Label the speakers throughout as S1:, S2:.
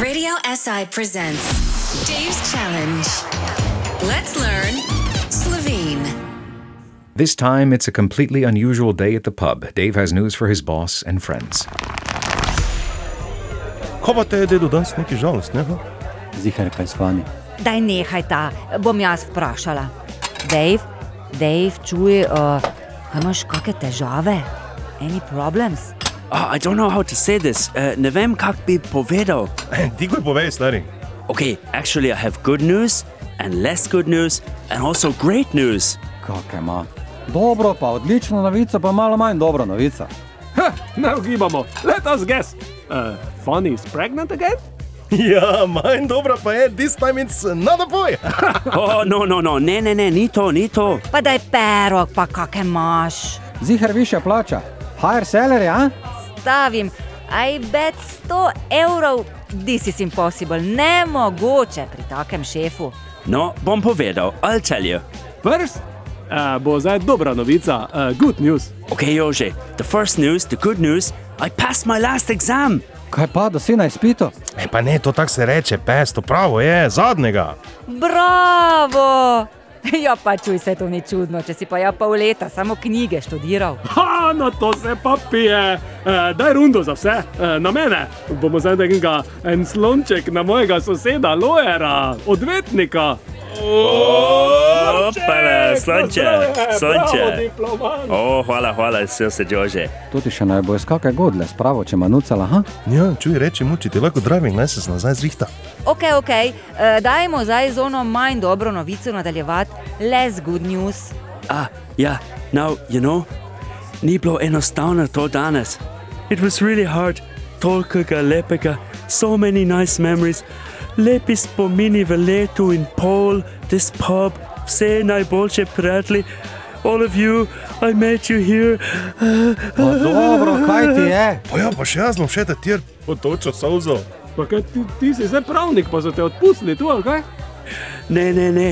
S1: Radio SI presents Dave's Challenge. Let's learn Slovene.
S2: This time, it's a completely unusual day at the pub. Dave has news for his boss and friends.
S3: Kaj pa te je dedo danes neki žalostne? Ne?
S4: Zihar, kaj s vami?
S5: Daj nehaj ta, bom jaz vprašala. Dave, Dave čuj, uh, a imaš kakšne težave? Any problems?
S4: Oh, I don't know how to say this. Uh, ne vem, kak bi povedal.
S3: Ti kaj E, povej, stari.
S4: Okay, actually, I have good news and less good news and also great news.
S6: Kakaj ima? Dobro, pa odlična novica, pa malo manj dobra novica.
S7: Ne ugibamo, let us guess. Uh, Fanny is pregnant again?
S3: Ja, manj dobra pa je, this time it's not a boy.
S4: Oh, no, no, no, ne, ne, ne, ni to, ni to.
S5: Pa daj perok, pa kakšne imaš.
S6: Zihar više plača. Higher salary, a?
S5: Stavim, aj bet 100 evrov, this is impossible, nemogoče pri takem šefu.
S4: No, bom povedal, I'll tell you.
S7: First, uh, bo zdaj dobra novica, uh, good news.
S4: Okay, Jože, the first news, the good news, I passed my last exam.
S6: Kaj pa, da si na izpitu?
S3: E, pa ne, to tako se reče, pes, to pravo je, zadnjega.
S5: Bravo! Ja, pa čuj se, to ni čudno, če si pa ja pol leta samo knjige študiral.
S7: Ha, no to se pa pije. Uh, daj rundo za vse, uh, na mene. Bomo zdaj nekega en slonček na mojega soseda, lojera, odvetnika. Oh,
S4: Opale, slonče, slonče.
S7: eh, Diplomat.
S4: Oh, hvala, hvala, vse se, Jože.
S6: To ti še naj bo skakaj godle, spravo, če manucala, ha?
S3: Ja, čuj, reči muči, ti lahko driving license nazaj zrihta.
S5: Ok, ok, eh, dajmo zdaj z ono manj dobro novico nadaljevati, less good news.
S4: Ah, ja, now, you know, ni bilo enostavno to danes. It was really hard, tolikega lepega, so many nice memories, lepi spomini v letu in pol, this pub, vse najboljše prijatelji, all of you, I met you here.
S6: Pa dobro, kaj ti je?
S3: Pa ja, pa še jaz bom še te tir. Otočo sauzo.
S7: Pa kaj ti, ti si zdaj pravnik, pa so te odpustili tu, ali kaj?
S4: Ne, ne, ne,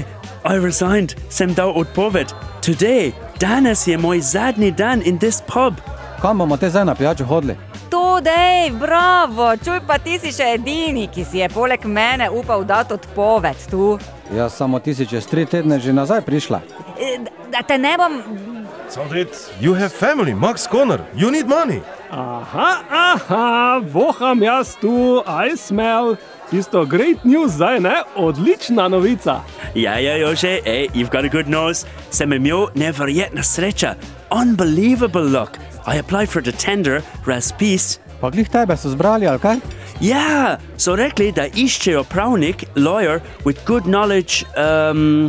S4: I resigned, sem dal odpoved. Today, danes je moj zadnji dan in this pub.
S6: Kam bomo te zdaj na pijačo hodili?
S5: To dej, bravo, čuj pa ti si še edini, ki si je poleg mene upal dati odpoved tu.
S6: Jaz Ja, samo tisoč čez tri tedne že nazaj prišla.
S5: Eh, Da te ne bom,
S3: Sandrit, you have family, Max Connor, you need money.
S7: Aha, aha, voham jaz tu, I smell. Tisto great news zdaj, ne? Odlična novica.
S4: Ja, ja, Jože, hey, you've got a good nose. Sem imel neverjetna sreča. Unbelievable luck. I applied for the tender, razpis.
S6: Pa glih tebe so zbrali, ali kaj?
S4: Ja, so rekli, da iščejo pravnik, lawyer with good knowledge, um,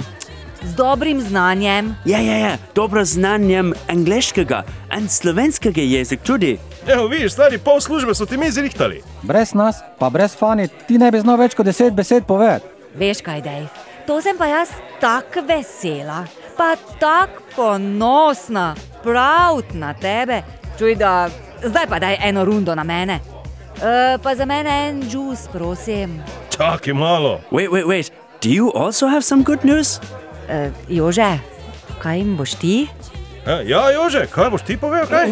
S5: z dobrim znanjem,
S4: ja, ja, ja, dobro znanjem angliškega in slovenskega jezika tudi.
S3: Evo, vidiš, stari, pol službe so ti mi zrihtali.
S6: Brez nas, pa brez fani, ti ne bi znal več kot deset besed povedati.
S5: veš kaj, dej. To sem pa jaz tako vesela, pa tako ponosna, prav na tebe. Čuj, da zdaj pa daj eno rundo na mene. Uh, pa za mene en džus, prosim.
S3: Čakaj malo.
S4: Wait, wait, wait. Do you also have some good news?
S5: Uh, Jože, kaj jim boš ti?
S3: E, ja, Jože, kaj boš ti povedal, kaj?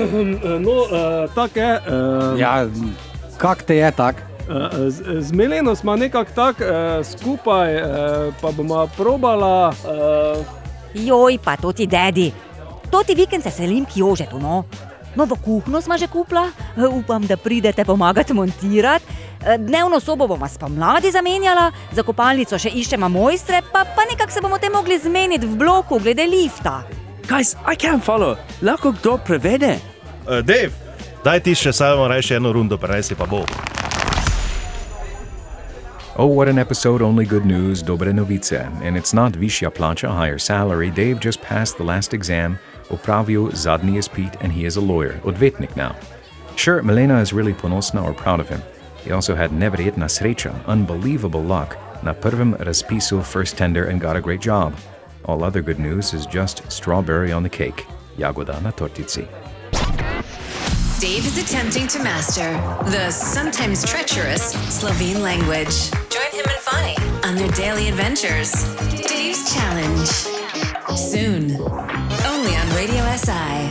S7: No, eh, tako je. eh,
S6: Ja, kak te je tak?
S7: eh, z- Zmeljeno smo nekako tako eh, skupaj, eh, pa bomo probala. eh,
S5: Joj, pa to ti dedi. To ti vikend se selim k Jožetu, no. Novo kuhno smo že kupla, eh, upam, da pridete pomagati montirati. Eh, Dnevno sobo bomo spomladi zamenjala, za kopalnico še iščemo mojstre, pa, pa nekako se bomo te mogli zmeniti v bloku glede lifta.
S4: Guys, I can't follow. Lahko kdo prevede?
S3: E, Dave, daj ti še samo reči eno rundo, prenesi pa bo.
S2: Oh, what an episode, only good news, dobre novice. And it's not Vishya Plancha, higher salary. Dave just passed the last exam. Opravio Zadni is Pete, and he is a lawyer, odvetnik now. Sure, Milena is really ponosna or proud of him. He also had Neverjetna Srecha, unbelievable luck, na prvim raspisu first tender and got a great job. All other good news is just strawberry on the cake, jagoda na tortici.
S1: Dave is attempting to master the sometimes treacherous Slovene language. Join him and Fani on their daily adventures. Dave's Challenge. Soon. Only on Radio SI.